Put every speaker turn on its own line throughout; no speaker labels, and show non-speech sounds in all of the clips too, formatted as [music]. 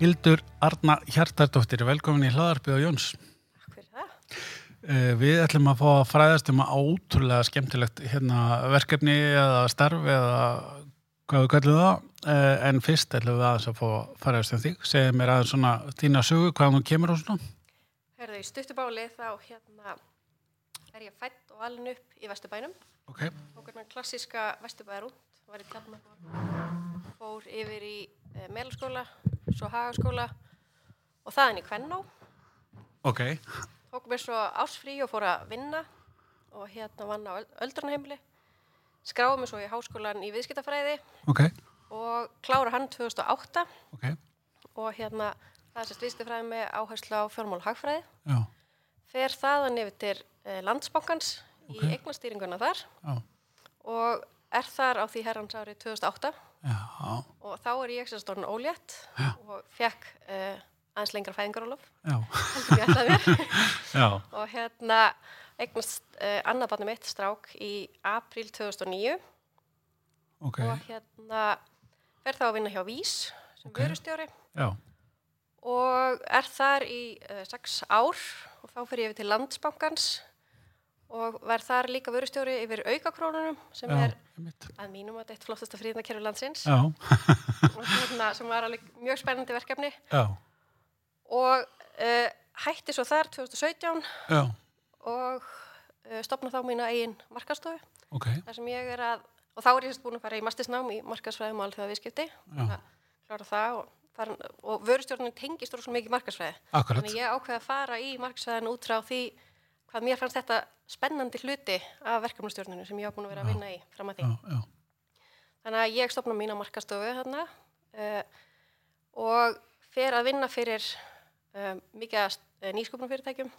Hildur Arna Hjartardóttir, velkomin í hlaðarpið á Jóns.
Takk fyrir það.
Eh, Við ætlum að fá að fræðast um ótrúlega skemmtilegt hérna, verkefni eða starf eða hvað við kallum það. Eh, En fyrst ætlum við aðeins að fá að fræðast um þig. Segðu mér aðeins svona þína sögu, hvaðan þú kemur og svona.
Herðu, í stuttubáli þá hérna er ég fætt og alin upp í Vesturbænum.
Ok,
Tókur mér klassíska Vesturbæðar út, var í Tjarnaborg, fór yfir í e, Melaskóla, svo Hagaskóla og þaðan í Kvennó.
ok,
Tók mér svo ásfrí og fór að vinna og hérna vann á öldrunheimli. Skráði mér svo í háskólan í viðskiptafræði
ok,
og klára hann 2008
ok,
og hérna það er sérst viðskiptafræði með áherslu á fjármál og hagfræði.
já,
fer þaðan yfir til eh, landsbankans
Ok.
í eignastýringuna þar
já,
og er þar á því herrans árið 2008
já,
og þá er ég sem stórn ólétt
Já.
og fekk eh, aðeins lengra fæðingarólof
já,
heldur ég
[laughs]
alltaf mér
já,
og hérna eignast eh, annað barnum mitt strák í apríl 2009
ok,
og hérna fer þá að vinna hjá VÍS sem
Ok.
vörustjóri
já,
og er þar í uh, sex ár og þá fyrir ég yfir til landsbankans og verð þar líka vörustjóri yfir aukakrónunum sem
já,
er
mitt,
að mínum að eitt flottasta fríðnakerfi landsins
já,
og hérna, sem var alveg mjög spennandi verkefni
já,
og uh, hætti svo þar 2017
já,
og uh, stopna þá mína eigin markastofu
ok,
þar sem ég er að og þá er ég sérst búin að fara í mastisnám í markasfræðum og alþjóða viðskipti
já,
klára það og, þar- og vörustjórnum tengist úr mikið markasfræði
akkurat,
Þannig að ég ákveði að fara í marksvæðan út frá því hvað mér fannst þetta spennandi hluti af verkefnastjórninu sem ég var búin að vera að vinna í fram að því.
já, já,
Þannig að ég stopna mína markastofu þarna uh, og fer að vinna fyrir uh, mikið af uh, nýsköpunum fyrirtækjum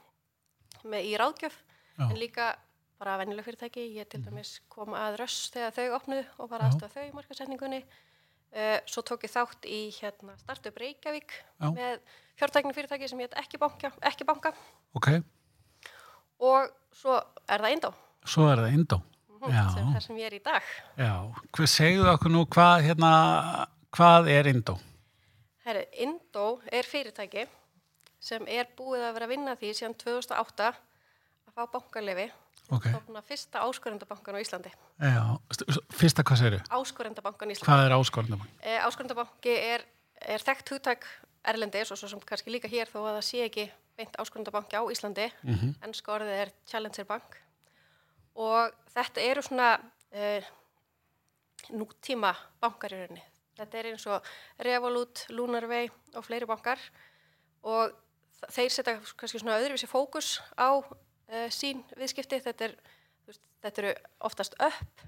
með í ráðgjöf
Já. Mhm.
en líka bara venjuleg fyrirtæki. Ég til dæmis kom að röss þegar þau opnuðu og
Já.
bara aðstofa þau í markasetningunni. Uh, svo tók ég þátt í hérna, startup Reykjavík
Já.
með fjártæknum fyrirtæki sem ég heit ekki banka, ekki banka
ok,
og svo er það Indó
svo er það indó.
mhm,
Já.
sem það sem ég er í dag
Já, hvað segðu okkur nú hvað, hérna, hvað er Indó?
Herri, Indó er fyrirtæki sem er búið að vera að vinna að því síðan 2008 að fá bankalefi
Ok,
stofna fyrsta áskorendabankan á Íslandi
já, st- s- fyrsta hvað segðu?
áskorendabankan í Íslandi
Hvað er áskorðanabang?
e, áskorendabanki er, er þekkt hugtak erlendis og svo sem kannski líka hér þó að það sé ekki beint áskorendabanki á Íslandi
Mm -hmm.
en orðið er Challenger Bank og þetta eru svona e, nútíma bankar í rauninni. Þetta er eins og Revolut, Lunarvey og fleiri bankar og þ- þeir setja kannski svona öðruvísi fókus á e, sín viðskipti. Þetta, er, þú veist, þetta eru oftast upp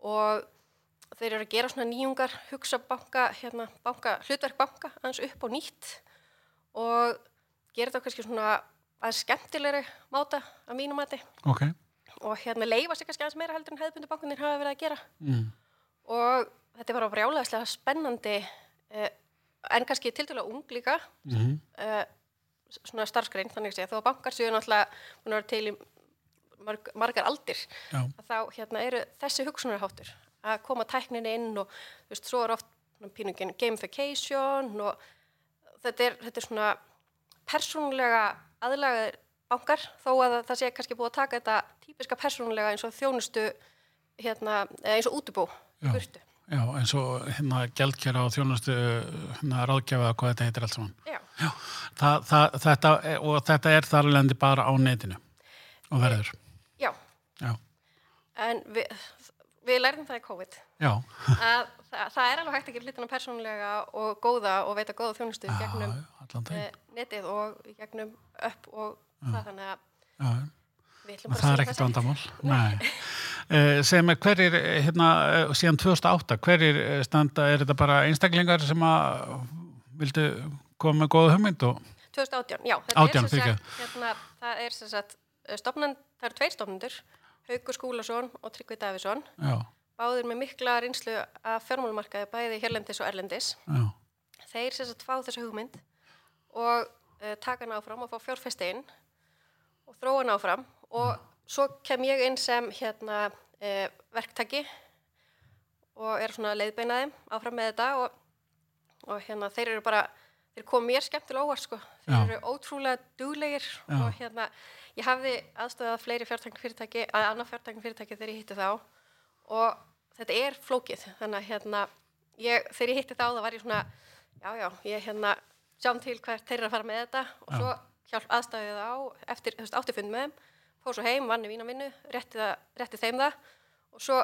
og þeir eru að gera svona nýjungar, hugsa banka, hérna, banka, hlutverk banka aðeins upp á nýtt og gera þetta á kannski svona aðeins skemmtilegri máta að mínu mati
Ok,
og hérna leifa sér kannski aðeins meira heldur en hefðbundubankunir hafa verið að gera
mm.
og þetta er bara brjálæðislega spennandi eh, en kannski tildulega ung líka
Mm -hmm.
eh, svona starfskrein þannig sé þó að bankar séu náttúrulega búin að vera til í marg, margar aldir
já,
að þá hérna eru þessi hugsunarháttur að koma tækninni inn og þú veist, svo er oft svona pínungin gamification og þetta er, þetta er svona persónulega aðlagaðir bankar þó að það sé kannski búið að taka þetta típiska persónulega eins og þjónustu hérna, eða eins og útubú
Já.
burtu.
já, eins og hérna gjaldkjara og þjónustu hérna ráðgjafa hvað þetta heitir allt saman.
Já.
Þa, það, þetta, er- og þetta er þarlendi bara á netinu og verður.
Já,
Já,
en við, við lærðum það í COVID
já,
að það, það er alveg hægt að gera hlutina persónulega og góða og veita góða þjónustu í
já,
gegnum
allan þeim.
eh, netið og í gegnum upp og það þannig að
Já, já.
við
En
ætlum
Mm.
bara
það
að
er
segja
ekkert
það
vandamál. Nei. Uh, segir mig, hverjir, eh, hérna, eh, síðan 2008, hverjir eh, standa, er þetta bara einstaklingar sem að vildu koma með góða hugmynd og,
2018, já, þetta
18,
er sem
fyrirgefðu.
sagt, hérna, það er sem sagt, stopnan, það eru tveir stopnendur, Haukur Skúlason og Tryggvi Davísson,
já,
báðir með mikla reynslu af fjármálumarkaði bæði hérlendis og erlendis.
já,
Þeir sem sagt fá þessa hugmynd og uh, taka hann áfram og fá fjárfesti inn og þróa hann áfram
Mm.
og svo kem ég inn sem hérna uh, verktaki og er svona leiðbeinaði áfram með þetta og, og hérna þeir eru bara þeir kom mér skemmtilega óvart sko. Þeir
Já.
eru ótrúlega duglegir
Já.
og hérna, ég hafði aðstöðað fleiri fjártækni fyrirtæki, að annað fjártækni fyrirtæki þegar ég hitti þá og þetta er flókið, þannig að hérna, ég, þegar ég hitti þá þá var ég svona, já, já, ég hérna, sjáum til hver þeir eru að fara með þetta og
Já.
svo hjálp aðstæðið á, eftir, þú veist, átti fund með þeim, fór svo heim, vann í vína vinnu, rétti, það, rétti þeim það og svo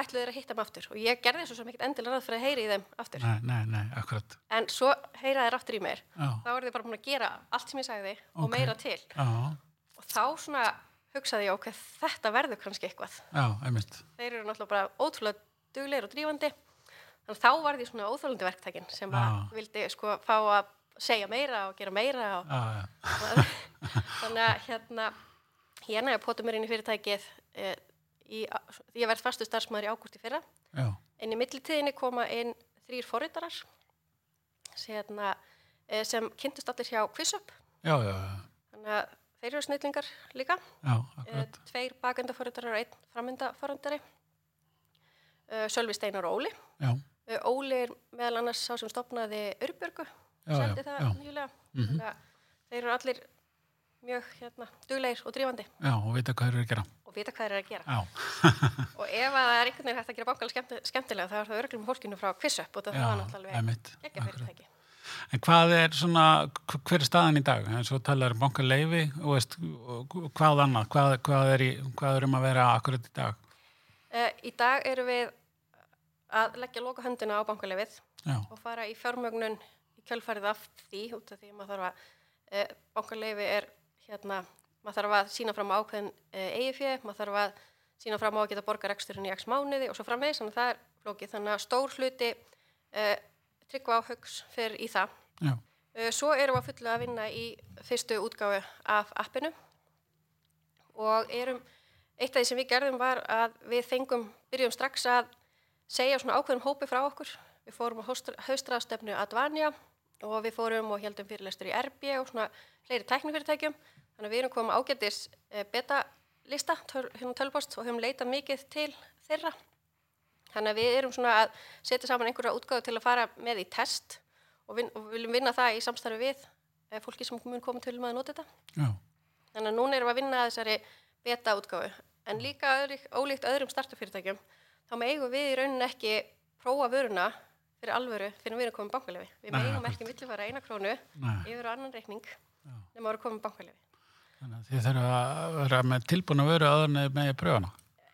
ætluðu þeir að hitta mig aftur og ég gerði þessu sem ekkert endilega ráð fyrir að heyri í þeim aftur
Nei, nei, nei, akkurat.
en svo heyra þeir aftur í mér
Já,
þá eru þið bara búin að gera allt sem ég sagði og
Ókei.
meira til
já,
og þá svona hugsaði ég ok, þetta verður kannski eitthvað
já, einmitt.
þeir eru náttúrulega bara ótrúlega duglegir og drífandi þannig að þá var því svona óþólandi verktækin sem að
Já.
vildi sko fá að segja meira og gera meira og
Já, já,
þannig að hérna ég næði að pota mér inn í fyrirtækið eh, í, ég verð fastu starfsmæður í ágústi fyrra
já,
en í millitíðinni koma inn þrýr forritarar sem, hérna, eh, sem kynntust allir hjá QuizUp
já, já, já,
þannig að þeir eru snillingar líka
já,
eh,
akkurat.
tveir bakendaforritarar og einn framyndaforritari eh, Sölvi Steinar og Óli
Já,
eh, Óli er meðal annars sá sem stopnaði Urbjörgu
já, já,
sendi það
já,
nýlega
Mhm.
þannig að þeir eru allir mjög hérna, duglegir og drífandi
já, og vita hvað þeir eru að gera.
og vita hvað þeir eru að gera
Já,
og ef að það er einhvern veginn hægt að gera bankala skemmti, skemmtilega þá er það örglum fólkinu frá QuizUp og það var
já,
náttúrulega alveg
einmitt.
geggja
akkurat.
fyrirtæki
En hvað er svona, hv- hver er staðan í dag? En svo talar um bankaleifi og veist, og hvað annað, hvað, hvað, er í, hvað er um að vera akkurat í dag?
uh, Í dag erum við að leggja loka höndina á bankalefið
Já,
og fara í fjármögnun í kjölfarið af því út af því að maður þarf að uh, bankaleifi er hérna, maður þarf að sína fram á ákveðin uh, eigifjö, maður þarf að sína fram á að geta borga reksturinn í x mánuði og svo framvegis, þannig að það er flókið, þannig að stór hluti uh, tryggva á hugs fyrir í það
já,
Eh, Svo erum við að fulla að vinna í fyrstu útgáfu af appinu og erum, eitt af því sem við gerðum var að við fengum, byrjum strax að segja svona ákveðum hópi frá okkur. Við fórum á haustraðstefnu Advania og við fórum og heldum fyrirlestur í RB og svona fleiri tæknifyrirtækjum. Þannig að við erum komið ágættis eh, beta-lista, töl- hérna tölpost og höfum leitað mikið til þeirra. Þannig að við erum svona að setja saman einhverja útgáðu til að fara með í test og, vin, og við viljum vinna það í samstarfi við eh, fólki sem mun koma til með að nota þetta.
já,
Þannig að núna erum við að vinna að þessari beta útgáfu. En líka öðru, ólíkt öðrum startupfyrirtækjum, þá megum við í rauninni ekki prófa vöruna fyrir alvöru fyrir við erum komið bankalefi. Við
Nei,
megum
akkurat.
ekki millifæra eina krónu
nei.
yfir á annan reikning nema að vera komið bankalefi.
Þannig að þið þurfa að vera með tilbúin að vera aðan með pröfuna.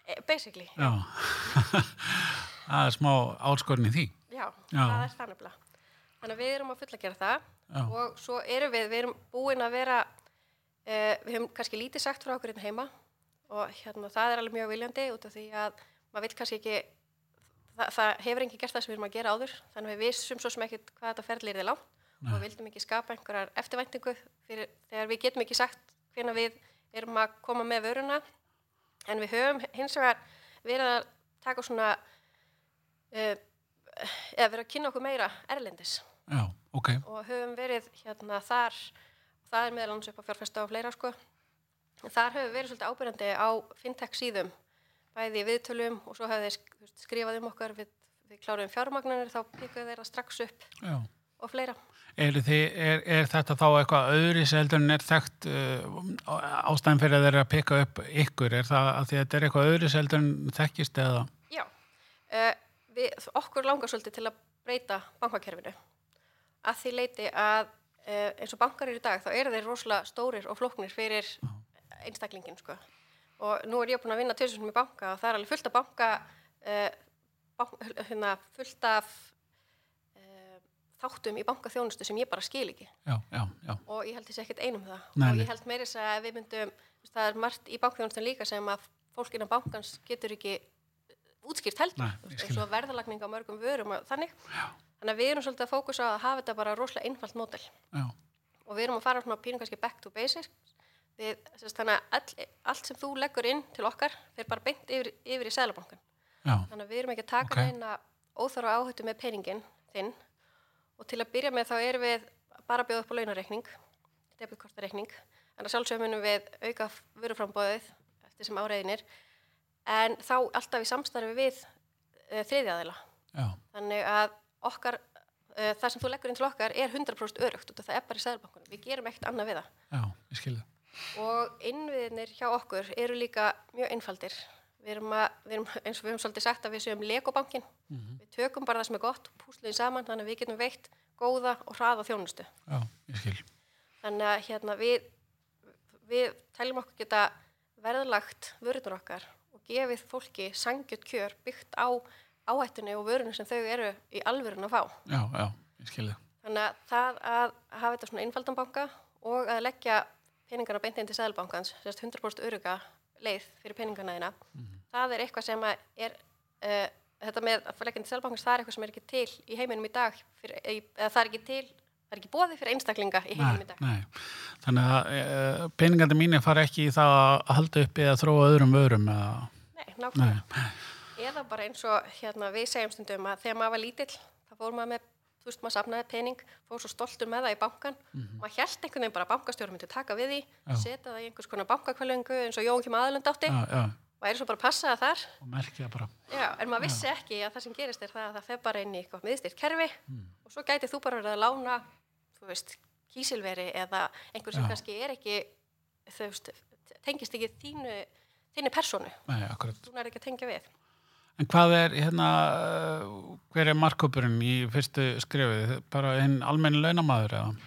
Eh, Basically,
Já, [laughs] það er smá áskorin í því.
Já,
Já.
það er það nefnilega. Þannig að við erum að fulla gera það
Já.
og svo erum við, við erum búin að vera, uh, við höfum kannski lítið sagt frá okkur hérna heima og hérna, það er alveg mjög viljandi út af því að maður vil kannski ekki, það, það hefur engin gert það sem við erum að gera áður, þannig að við vissum svo sem ekkit hvað þetta ferðlir er langt og
Nei.
við vildum ekki skapa einhverjar eftirvæntingu fyrir, þegar við getum ekki sagt hvenær við erum að koma með vöruna en við höfum hins vegar verið að taka svona uh, eða verið að kynna okkur meira erlendis
Já, ok,
og höfum verið hérna þar það er meðal annars upp á fjárfesta og fleira sko En þar höfum við verið svolítið ábyrjandi á fintech síðum bæði í viðtölum og svo höfum við sk- þú veist, skrifað um okkar við, við kláruðum fjármagnanir þá píkuðu þeirra strax upp
já.
og fleira
Er, þið, er, er þetta þá eitthvað öðri heldur en er þekkt uh, á- ástæðan fyrir að þeir eru að peka upp ykkur? Er það að því að þetta er eitthvað öðri heldur en þekkist eða?
Já, uh, við, okkur langar svolítið til að breyta bankakerfinu að því leiti að uh, eins og bankar eru í dag þá eru þeir rosalega stórir og flóknir fyrir einstaklingin sko. og nú er ég búin að vinna tjóðsum í banka og það er alveg fullt af banka, uh, bank, hérna, fullt af uh, þáttum í bankaþjónustu sem ég bara skil ekki
Já, já, já,
og ég held þessi ekkert einum það
Nei,
og
nei.
ég held meira þess að við myndum þú veist, það er margt í bankþjónustan líka sem að fólk innan bankans getur ekki uh, útskýrt heldur
Nei,
þú
ég
veist,
skil
eins og verðalagning á mörgum vörum og þannig Já. þannig að við erum svolítið að fókusa á að hafa þetta bara rosalega einfalt mótel
já,
og við erum að fara svona pínum kannski back to basics við, sérst, þannig að all, allt sem þú leggur inn til okkar fer bara beint yfir, yfir í seðlabankan
já,
þannig að við erum ekki að taka
Ok.
okay. neina óþára áhættu með peningin þinn og til að byrja með þá erum við bara að bjóða upp á launareikning debitkortareikning en að sjálfsögum munum við auka vöruframbóðið eftir sem áreiðinir en þá eh, alltaf í samstarfi við e, þriðjaðila
já,
þannig að okkar uh, það sem þú leggur inn til okkar er 100% örugt og það er bara í sæðarbankunum, við gerum ekkert annað við það
Já, ég skilja.
og innviðinir hjá okkur eru líka mjög einfaldir við erum, að, við erum eins og við höfum svolítið sagt að við séum legobankin við tökum bara það sem er gott og púsluðum saman þannig að við getum veitt góða og hraða þjónustu
Já, ég skil.
þannig að hérna, við, við teljum okkur geta verðlagt vörunar okkar og gefið fólki sangjut kjör byggt á áhættunni og vörunum sem þau eru í alvörun að fá
Já, já, ég skilja.
Þannig að það að hafa þetta svona einfaldan banka og að leggja peningarna beint inn til sæðalbankans, sérst 100% öruga leið fyrir peningarna þína,
Mhm.
það er eitthvað sem að er, uh, þetta með að leggja inn til sæðalbankans, það er eitthvað sem er ekki til í heiminum í dag, fyrir, eða það er ekki til, það er ekki bóði fyrir einstaklinga í heiminum
Nei,
í dag.
nei. Þannig að e, peningandi mínir fara ekki í það að halda upp eða þróa öðrum vörum eða...
Nei, nákvæmlega.
Nei,
Eða bara eins og hérna, við segjum stundum að þegar maður var lítill, þá fór maður með, þú veist, maður safnaði pening, fór svo stoltur með það í bankan, maður held einhvern veginn bara að bankastjóra myndi taka við því,
Mhm. Já.
setja það í einhvers konar bankakvælungu eins og Jón kemur aðlönd átti,
já, já,
maður er svo bara að passa það þar,
og merkja bara.
já, en maður vissi ekki að það sem gerist er það að það fer bara inn í eitthvað miðstýrt kerfi
Hmm.
og svo gæti þú bara verið að lána, þú veist, kísilveri eða einhver sem
Já.
kannski er ekki, þú veist, tengist ekki þínu, þínu personu,
Nei, akkurat.
þú nær ekki að tengja við.
En hvað er hérna, eh, hver er markkópurinn í fyrstu skrifið? Bara hinn almenni launamaður eða?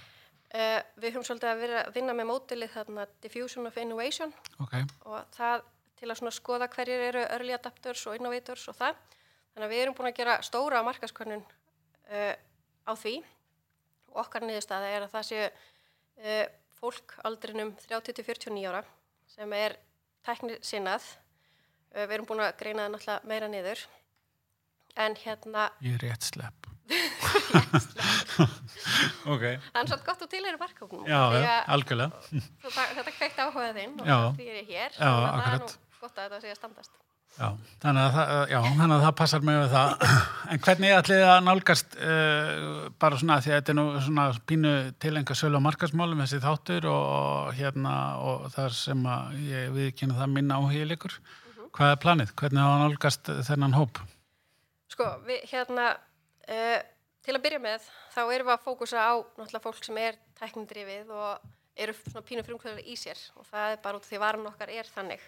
Uh, við höfum svolítið að vera að vinna með mótilið þarna Diffusion of Innovation
Ok,
og það til að svona skoða hverjir eru early adapters og innovators og það. Þannig að við erum búin að gera stóra markaskonnun uh, á því og okkar niðurstaða er að það séu uh, fólk aldrinum 30-49 ára sem er tæknir sinnað. Uh, við erum búin að greina það náttúrulega meira niður en hérna,
ég er rétt slepp.
[laughs]
[laughs] ok,
það er svolítið gott og til eru markhóknum.
já, já, algjörlega.
Svo það- þetta kveikt áhuga þinn og
Já.
því er ég hér
Já,
þannig að það er
akkurat.
nú gott að þetta sé að standast
Já, þannig að það, já, þannig að það passar mig við það. En hvernig ætlið þið að nálgast uh, bara svona því að þetta er nú svona pínu tilenga sölu og markasmálum þessi þáttur og hérna og þar sem að ég viðkynna það minna áhugilikur.
Mhm.
Hvað er planið? Hvernig á að nálgast þennan hóp?
sko, við hérna uh, til að byrja með þá erum við að fókusa á náttúrulega fólk sem er tæknindrifið og eru svona pínu frumkvöðar í sér og það er bara út af því varan okkar er þannig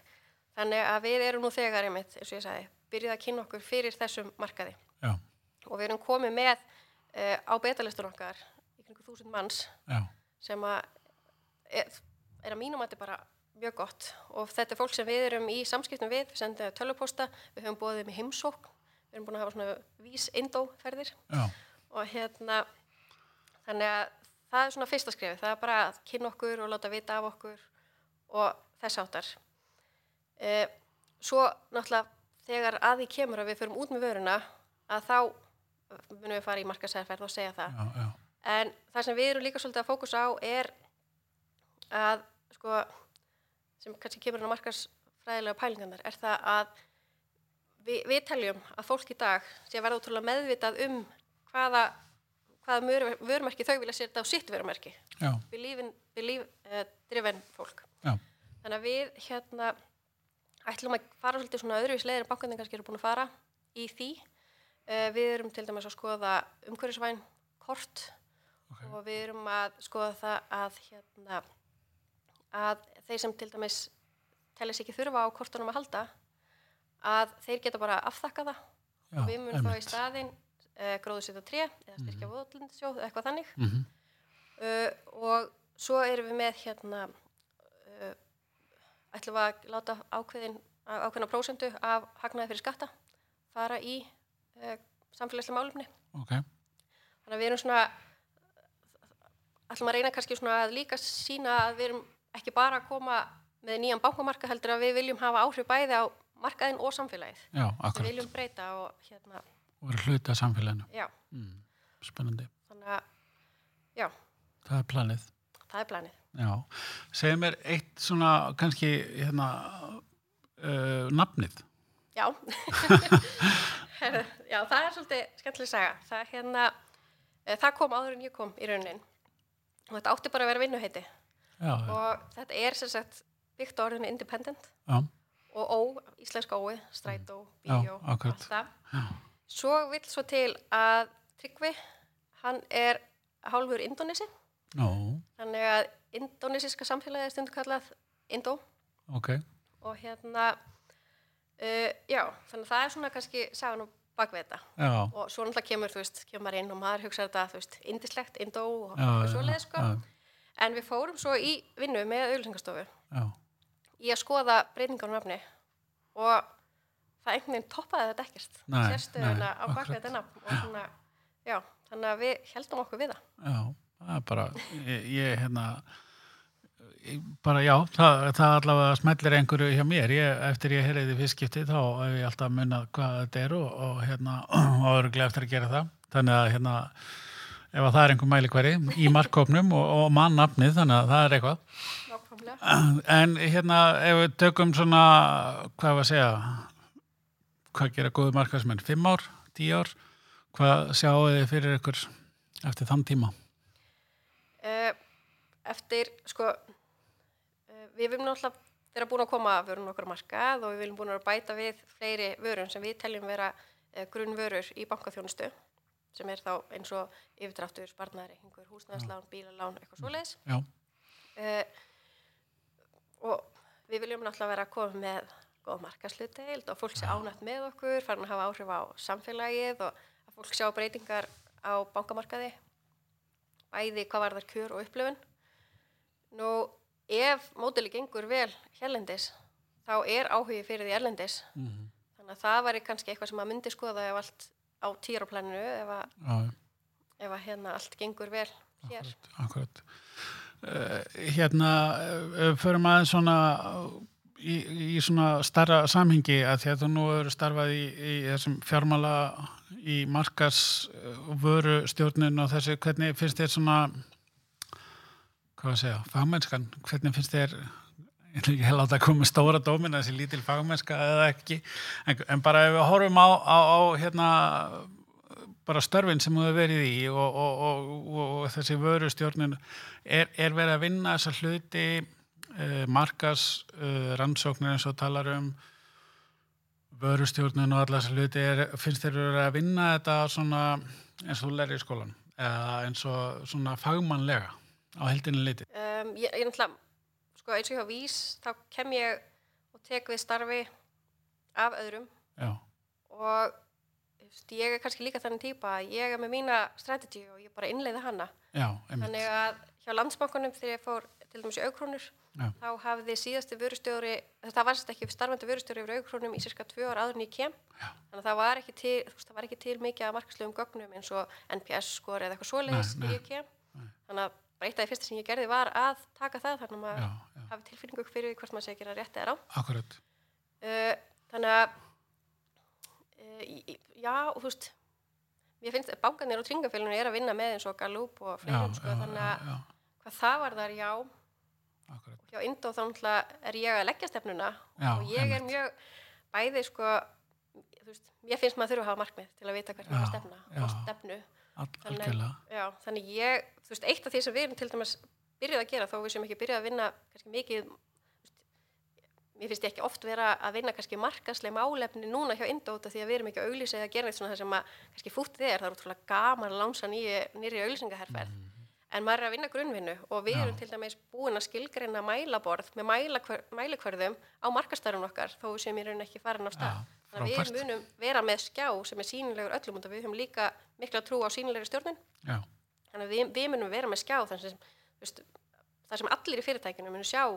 þannig að við erum nú þegar einmitt, eins og ég sagði, byrjuð að kynna okkur fyrir þessum markaði
Já,
og við erum komið með uh, á betalistun okkar í kringu þúsund manns
já,
sem að er, er að mínum að þetta bara mjög gott og þetta er fólk sem við erum í samskiptum við, við sendum tölvupósta, við höfum bóðið með heimsókn, við erum búin að hafa svona vís indóferðir
já,
og hérna þannig að það er svona fyrsta skrifi, það er bara að kynna okkur og láta vita af okkur og þess áttar. E, svo náttúrulega þegar að því kemur að við förum út með vöruna að þá munum við fara í markasæðarferð og segja það.
já, já,
En það sem við erum líka svolítið að fókusa á er að, sko, sem kannski kemur inn á markarsfræðilega pælingarnar, er það að við, við teljum að fólk í dag sé að verða útrúlega meðvitað um hvaða, hvaða mör- vörumerki þau vilja setja á sitt vörumerki.
já,
Believe-driven believe, uh, fólk.
já,
Þannig að við hérna ætlum að fara svolítið svona öðruvís leiðir en bankandinn kannski eru búin að fara í því. Uh, við erum til dæmis að skoða umhverfisvæn kort
Ok.
og við erum að skoða það að, hérna, að þeir sem til dæmis telja sér ekki þurfa á kortunum að halda að þeir geta bara afþakka það
já.
og við munum þá í
einmitt.
staðinn uh, gróðu setja tré eða styrkja mm. eða eitthvað þannig
Mhm.
uh, og svo erum við með hérna uh, ætlum við að láta ákveðin, ákveðina prósendu af hagnaði fyrir skatta fara í uh, samfélagslega málumni
Ok,
þannig að við erum svona ætlum að reyna kannski svona að líka sína að við erum ekki bara að koma með nýjan bankamarka heldur að við viljum hafa áhrif bæði á markaðin og samfélagið
já,
við
akkurat.
viljum breyta og hérna,
Og eru hluti af samfélaginu.
já
Mm. Spennandi.
þannig að, já,
Það er planið.
það er planið
Já, segðu mér eitt svona kannski hérna uh, nafnið.
Já, Herðu, já það er svolítið skemmtileg saga. Það, hérna, eh, það kom áður en ég kom í raunin og þetta átti bara að vera vinnuheiti
Já, já,
og þetta er sem sagt byggt á orðinu independent
já,
og ó, íslensk ói, strætó,
Mm. Já,
bíó,
akkurat.
allt það.
já,
Svo vill svo til að Tryggvi, Hann er hálfur indonesi,
Nó,
þannig að indonesiska samfélagi er stundu kallað Indó
ok.
og hérna, uh, já, þannig að það er svona kannski sagan og bakvið þetta.
Já,
og svo náttúrulega kemur, þú veist, kemur maður inn og maður hugsa þetta, þú veist, indislegt, indó og,
já,
og
já,
svoleiði, sko.
já,
En við fórum svo í vinnu með auðlýsingastofu
já,
í að skoða breytingar á nafni og það einhvern veginn toppaði þetta ekkert.
Nei,
Sérstöðuna
nei,
á bakvið
akkurat.
þetta nafn og svona, já, þannig að við heldum okkur við það.
já, það er bara, ég, ég hérna, ég, bara já, það, það allavega smellir einhverju hjá mér, ég, eftir ég heyriði fiskipti þá hef ég alltaf munað hvað þetta er og, og hérna, [clears throat] og örglega eftir að gera það, þannig að hérna, ef að það er einhver mælikværi í markkópnum og, og mannnafnið, þannig að það er eitthvað.
Nákvæmlega.
En hérna, ef við tökum svona, hvað var að segja, hvað gera góðu markaðsmenn? Fimm ár, tíu ár? Hvað sjáu þið fyrir ykkur eftir þann tíma?
Eh, eftir, sko, eh, við viljum náttúrulega vera búin að koma að vörun okkur á markað og við viljum búin að bæta við fleiri vörun sem við teljum vera eh, grunnvörur í bankaþjónustu sem er þá eins og yfirdráttur, sparnari, hingur, húsnæðslán, bílalán, eitthvað svoleiðis.
Já,
Eh, og við viljum náttúrulega vera að koma með góð markaslutdeild og fólk sé ánætt með okkur, farin að hafa áhrif á samfélagið og að fólk sjá breytingar á bankamarkaði, bæði hvað var þar kjör og upplifun. Nú, ef mótili gengur vel hérlendis, þá er áhugi fyrir því erlendis.
Mhm.
Þannig að það væri kannski eitthvað sem maður myndi skoða ef allt á týraplaninu, ef, að-
já, já.
ef að hérna allt gengur vel hér.
Akkurat. Uh, hérna, uh, förum aðeins svona í, í svona starra samhengi að því að þú nú eru starfað í, í þessum fjármála í markas vöru stjórnun og þessu, hvernig finnst þér svona hvað að segja, fagmennskan, hvernig finnst þér ég ætla ekki hella að það komið stóra dómin þessi lítil fagmennska eða ekki en, en bara ef við horfum á, á, á hérna bara störfin sem þú hefur verið í og, og, og, og, og þessi vörustjórnin er, er verið að vinna þessa hluti uh, markas uh, rannsóknir eins og talar um vörustjórnin og alla þessa hluti er, finnst þér verið að vinna þetta svona eins og þú lærir í skólan eða eins og svona fagmannlega á heldinni liti
Um, ég, ég náttúrulega, sko eins og hjá Vís, þá kem ég og tek við starfi af öðrum
Já,
og þú veist, ég er kannski líka þannig típa að ég er með mína strategy og ég bara innleiði hana.
já, einmitt
Þannig að hjá landsbankunum þegar ég fór til dæmis í aukrónur,
Já.
þá hafði síðasti vörustjóri, það var sérst ekki starfandi vörustjóri yfir aukrónum í cirka tvö ár áður en ég kem.
Já.
Þannig að það var ekki til, þú veist, það var ekki til mikið af markaslöfum gögnum eins og NPS skor eða eitthvað svoleiðis
Nei, nei.
þegar ég kem. Þannig að bara eitt af því fyrsta sem ég gerði var að taka það, þannig að
Já,
maður
já,
hafi tilfinningu fyrir því hvort maður sé að gera rétt eða rátt.
akkurat
Uh, þannig að uh, í- í- já, og þú veist ég finnst að bankanir og tringafélunir er að vinna með eins og Gallup og
Já,
fleirum sko,
já,
þannig
já,
að
já,
hvað það var þar já og
akkurat
hjá Indó þá náttúrulega er ég að leggja stefnuna
Já,
og ég er mjög bæði sko þú veist, ég finnst maður þurfa að hafa markmið til að vita hvernig það
Já,
er stefna
já.
og stefnu
Al-
Þannig-
Algjörlega,
já, þannig ég, þú veist, eitt af því sem við erum til dæmis byrjuð að gera þó við sem ekki byrjuð að vinna kannski mikið þú veist, mér finnst ég ekki oft vera að vinna kannski markasleg málefni núna hjá Indóta því að við erum ekki að auglýsa eða gera neitt svona það sem að kannski fútt þér, það er útrúlega gaman að lánsa nýju, nýri auglýsingaherferð en maður er að vinna grunnvinnu og við
Mhm. Já.
erum til dæmis búin að skilgreina mælaborð með mælakver, mælikvörðum á markastarfum okkar þó við sem í rauninni ekki farin af stað
Já,
þannig að
frábært.
við munum vera með skjá sem er sínilegur öllum og við höfum líka mikla trú á sínilegri stjórnin
já,
þannig að við, við munum vera með skjá þar sem, þú veist, þar sem allir í fyrirtækinu munum sjá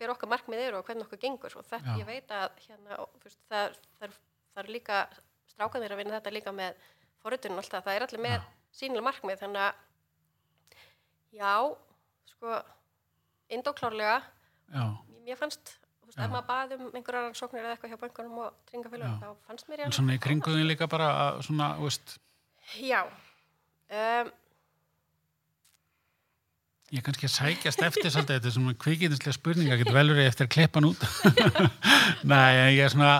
hver okkar markmið eru og hvernig okkur gengur og
Já.
þetta ég veit að hérna, og, þú veist, það, það, það er líka strákanir að vinna þetta líka með forritunum alltaf, það er allir með
Já.
sínileg markmið þannig að já, sko indóklárlega,
já,
mér fannst þú veist,
Já.
ef maður bað um einhverjar rannsóknir eða eitthvað hjá bankunum og tringafélagum
Já.
þá fannst mér ég
en
alveg-
svona í kringuðin líka bara að svona, þú veist,
já um,
Ég er kannski að sækjast eftir svolítið þetta er svona kvikindinslega spurninga, getur velur ég eftir að klippa hann út. Nei, en ég er svona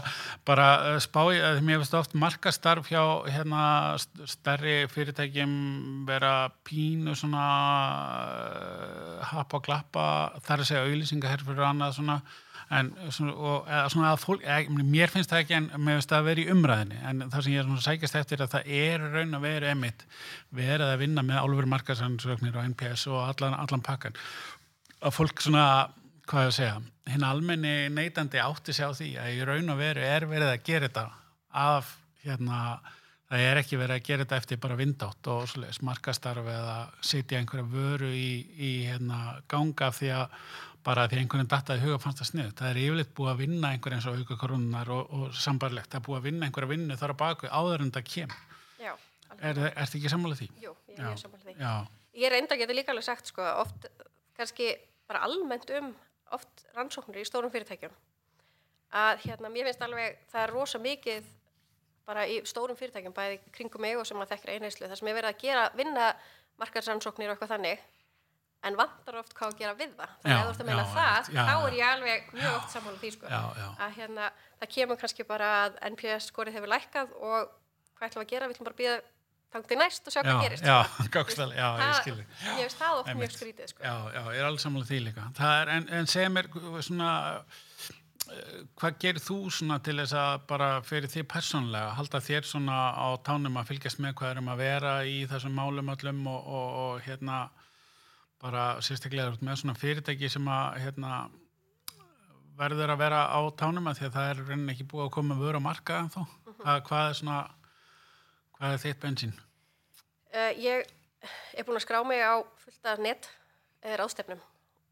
bara uh, spá í að mér finnst oft markastarf hjá hérna st- stærri fyrirtækjum vera pínu svona eh, uh, hapa og glappa, þar að segja auðlýsingaherfur og annað svona, en svona, og, eða, svona að fólk, eða, ég meina, mér finnst það ekki en mér finnst það að vera í umræðinni en það sem ég er svona sækist eftir er að það er raun að vera emitt verið að vinna með álveru markaðsansöknir og NPS og allan, allan pakkan að fólk svona, hvað ég að segja hinn almenni neytandi átti sig á því að í raun og veru er verið að gera þetta af hérna það er ekki verið að gera þetta eftir bara vindátt og svoleiðis markastarf eða sitja einhverja vöru í, í hérna, ganga því að bara því einhvern veginn dattaði huga fannst það snið það er yfirleitt búið að vinna einhverja eins og auka korunar og, og sambarlegt, það er búið að vinna einhverja vinnu þar á baku áður en það kem
já, alveg.
er, er þetta ekki sammála því?
Jú, ég er samanlega því.
Já,
Ég reynda að geta líka alveg sagt, sko, oft, kannski bara almennt um oft rannsóknir í stórum fyrirtækjum. Að hérna, mér finnst alveg, það er rosa mikið bara í stórum fyrirtækjum, bæði kringum mig og sem maður þekkir einherslu, þar sem er verið að gera, vinna markaðsrannsóknir og eitthvað þannig, en vantar oft hvað að gera við það. Þannig
Já,
að ef þú ert að meina
já,
það,
já,
þá
já.
er ég alveg mjög oft sammála því, sko.
já, já
Að hérna, það kemur kannski bara að NPS skorið hefur lækkað og hvað ætlum við að gera, við ætlum bara að býða þangti næst og sjá hvað gerist.
Já, [laughs] gákstal, já, ég
Það-
skilði
Ég veist það oft mjög
Einmitt.
skrítið, sko.
Já, já, ég er alveg sammála því líka. Það er, en, en segja mér svona, eh, hvað gerir þú svona til þess að bara fyrir því persónlega, halda þér svona á tánum að fylgjast með hvað erum að vera í þessum málum öllum og, og, og hérna bara sérstaklega út með svona fyrirtæki sem að hérna verður að vera á tánum að því að það er raunin ekki búið að koma vöru á marka en þó. Hvað er svona, hvað er þitt bensín?
Uh, ég er búin að skrá mig á fullta net uh, ráðstefnum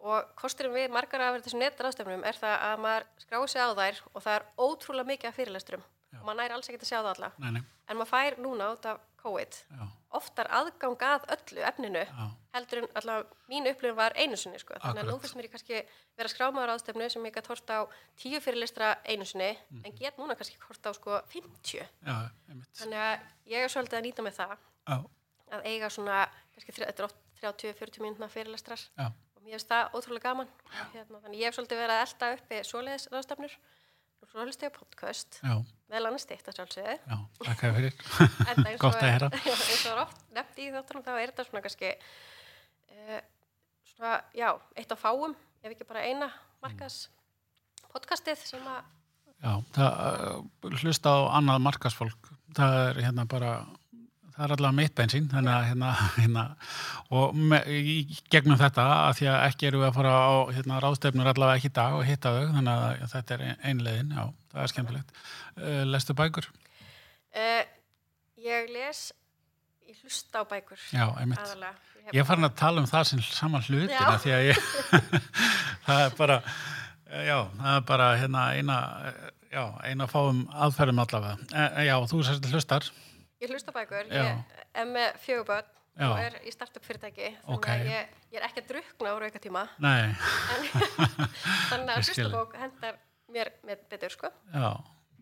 og kosturinn við margar af þessum net ráðstefnum er það að maður skrái sig á þær og það er ótrúlega mikið af fyrirlesturum og maður nær alls ekki að sjá það alla
Nei, nei,
en maður fær núna út af COVID
já,
oftar aðgang að öllu efninu
já.
heldur en allavega mín upplifun var einu sinni sko. þannig að nú
Akkurat.
finnst mér ég kannski vera skrámaður ástefnu sem ég gætt hort á tíu fyrirlistra einu sinni
Mhm.
en get núna kannski hort á sko 50
Já, einmitt.
þannig að ég er svolítið að nýta með það
Já,
að eiga svona kannski þrjá- þetta er oft 30-40 mínútna fyrirlestrar
já,
og mér finnst það ótrúlega gaman Og hérna, þannig ég hef svolítið verið að elda uppi svoleiðis ráðstefnur og svo hlust ég á podcast
já,
vel annars þitt
[laughs]
að sjálfsögðu
já, takk að fyrir.
Enda eins og-
Gott að heyra.
[laughs] Já, eins og er oft nefnt í þáttunum þá er þetta svona kannski uh, svona, já, eitt af fáum ef ekki bara eina markas podcastið sem að
Já, það uh, hlusta á annað markasfólk. Það er hérna bara, það er allavega mitt einn sín, þannig að hérna, [laughs] hérna, og me, í gegnum þetta, að því að ekki eru við að fara á hérna, ráðstefnur allavega ekki í dag og hitta þau, þannig að þetta er ein- ein leiðin, já, það er skemmtilegt. Uh, lestu bækur?
uh, ég les ég hlusta á bækur
Já, einmitt.
aðalega
Ég er farin að tala um það sem saman hlutina
Já.
því að ég, [laughs] það er bara, eh, já, það er bara hérna eina, já, eina fáum aðferðum allavega. E, e, já, þú sérst hlustar,
ég hlusta á bækur
Já.
ég er með fjöguböld
Já.
og er í startup fyrirtæki þannig
Ókei.
að ég, ég er ekki að drukna á raukatíma
nei,
en þannig
Ég
að
skil.
hlustabók hendar mér með betur sko
já,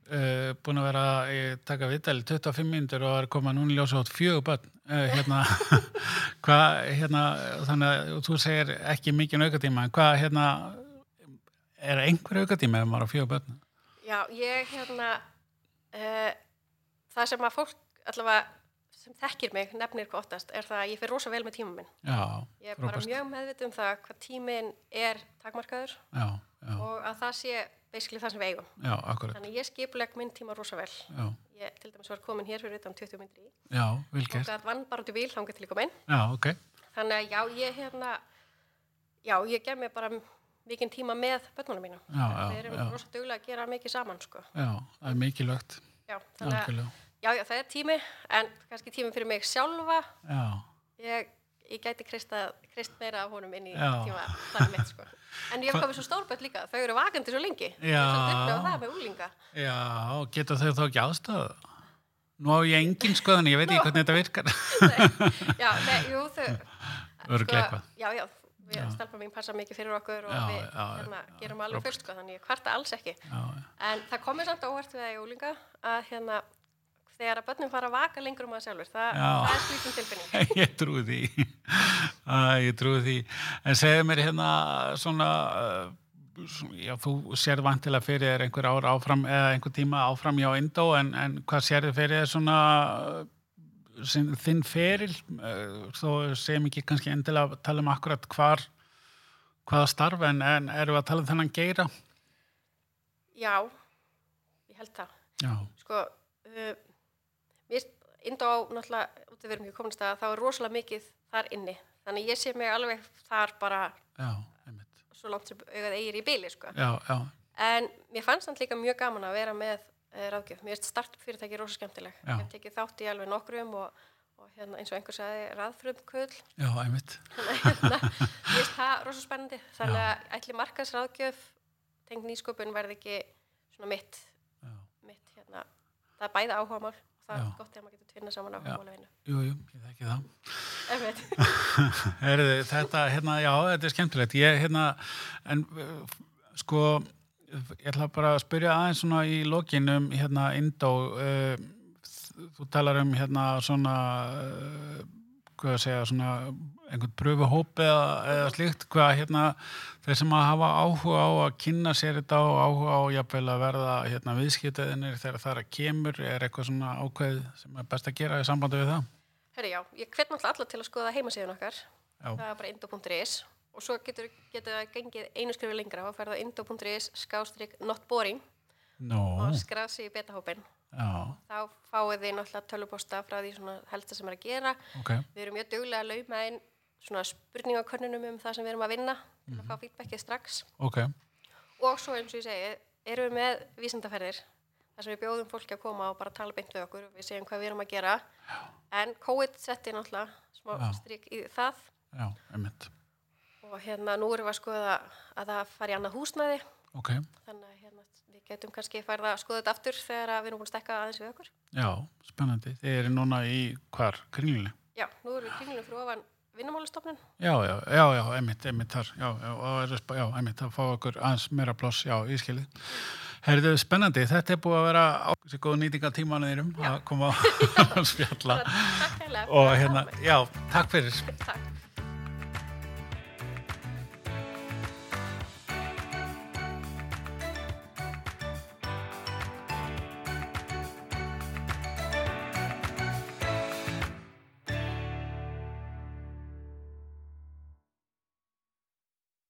e, búin að vera að taka viðtal í 25 mínútur og er koma núna í ljósa átt fjögur börn, e, hérna, [laughs] hvað, hérna, þannig að þú segir ekki mikið aukatíma, en hvað, hérna, er einhver aukatíma ef maður á fjögur börn?
Já, ég hérna uh, það sem að fólk allavega sem þekkir mig nefnir hvað oftast er það að ég fer rosa vel með tíma minn.
Já,
Ég er bara
Frábært.
mjög meðvitið um það hvað tíminn er takmarkaður
já, já,
og að það sé basically það sem við eigum.
já, akkurat,
Þannig að ég skipuleg minn tíma rosa vel.
já,
Ég til dæmis var komin hér fyrir utan 20 myndir í
já, vilkert.
og gæt vann bara út í bíl þangað til ég kom inn.
Já, ok.
Þannig að já, ég hérna já, ég gef mér bara mikinn tíma með börnunum mínum.
Já, já,
Við erum
já.
rosa duglega að gera mikið saman, sko.
Já, það er mikilvægt.
Já, þannig að
Algjörlega.
Já, já, það er tími, en kannski tími fyrir mig sjálfa.
Já,
Ég, ég gæti kristað, krist meira af honum inn í
Já.
tíma þar mitt, sko. En ég
Hva-
hef komið svo stórböld líka, þau eru vakandi svo lengi.
Já.
Það er það með úlinga.
já geta þau þá ekki aðstöðu? Nú á ég engin skoðan, ég veit ekki hvernig þetta virkar. [laughs]
Já, nei, jú, þau... sko,
Örugglega eitthvað.
Já, já, við stelpa mín passa mikið fyrir okkur og
Já,
við
já, já,
hérna,
já,
gerum alveg fullt, sko, þannig ég kvarta alls ekki.
Já,
En það komið samt óvart við að ég úlinga að hérna, þegar að börnum fara að vaka lengur um að sjálfur, það,
Já.
það er slíkin tilfinning.
[laughs] ég trúi því. Æ, ég trúi því. En segðu mér hérna svona, uh, svona, já, þú sér vantilega fyrir þér einhver ár áfram, eða einhver tíma áfram hjá Indó, en, en hvað sérðu fyrir þér svona uh, sinn, þinn feril? Uh, Þó segjum ekki kannski endilega að tala um akkurat hvar, hvaða starf, en, en erum við að tala um þennan geira?
Já, ég held það.
Já,
Sko, uh, mér, Indó, náttúrulega, út af við erum ekki komin í stað, þá er rosalega mikið þar inni. Þannig að ég sé mig alveg þar bara
já, einmitt.
svo langt sem augað eigir í bíli, sko.
Já, já,
En mér fannst hann líka mjög gaman að vera með uh, ráðgjöf. Mér finnst startup fyrirtæki rosa skemmtileg.
Já.
Ég hef tekið þátt í alveg nokkrum og, og hérna, eins og einhver sagði raðfrumkull.
já, einmitt.
Hérna, Mér finnst það rosa spennandi. Þannig að ætli markasráðgjöf tengd nýsköpun verði ekki svona mitt,
Já.
mitt hérna. Það er bæði áhugamál og það
Já.
er gott þegar maður getur tvinna saman
Já.
áhugamál og vinnu.
Jú, jú, ég þekki það.
Einmitt. [laughs]
Herði, þetta, hérna, já, þetta er skemmtilegt. Ég, hérna, en uh, sko, ég ætla bara að spyrja aðeins svona í lokin um, hérna, Indó, uh, þú talar um, hérna, svona, uh, hvað að segja, svona, einhvern pröfuhóp eða, eða slíkt, hvað, hérna, þeir sem að hafa áhuga á að kynna sér þetta og áhuga á, jafnvel, að verða, hérna, viðskiptaðinir þegar það er að kemur, er eitthvað svona ákveð sem er best að gera í sambandi við það?
Herri, já, ég hvet náttúrulega alla til að skoða heimasíðun okkar.
Já.
Það er bara indo.is og svo getur það gengið einu skrifu lengra og ferða indo.is skástrík not boring
Nó,
og skráð sig í betahópin.
já,
Þá fáið þið náttúrulega töluposta frá því svona helsta sem er að gera.
ok.
Við erum mjög duglega að lauma inn svona spurningakönnunum um það sem við erum að vinna til að fá feedbackið strax.
Ok,
Og svo eins og ég segi, erum við með vísindaferðir þar sem við bjóðum fólki að koma og bara tala beint við okkur og við segjum hvað við erum að gera. En COVID setti náttúrulega smá
Já.
strik í það
já, einmitt.
og hérna nú erum við að skoða að það fari í annað húsnæði
Ok,
þannig að hérna, við getum kannski farið að skoða þetta aftur þegar að við erum búin að stekka aðeins við okkur.
já, spennandi. Þið eru núna í hvar? Kringlunni?
Já, nú erum við kringlunum fyrir ofan vinnumálastofnun.
Já, já, já, já, einmitt, einmitt þar. Já, já, og eru sp- já einmitt, það fá okkur aðeins meira pláss, já, ég skilji. Herðu, spennandi, þetta er búið að vera ákveðsig góð nýting af tímanuðinum að koma að [laughs] spjalla
Takk hérlega.
og hérna, já, takk fyrir.
Takk.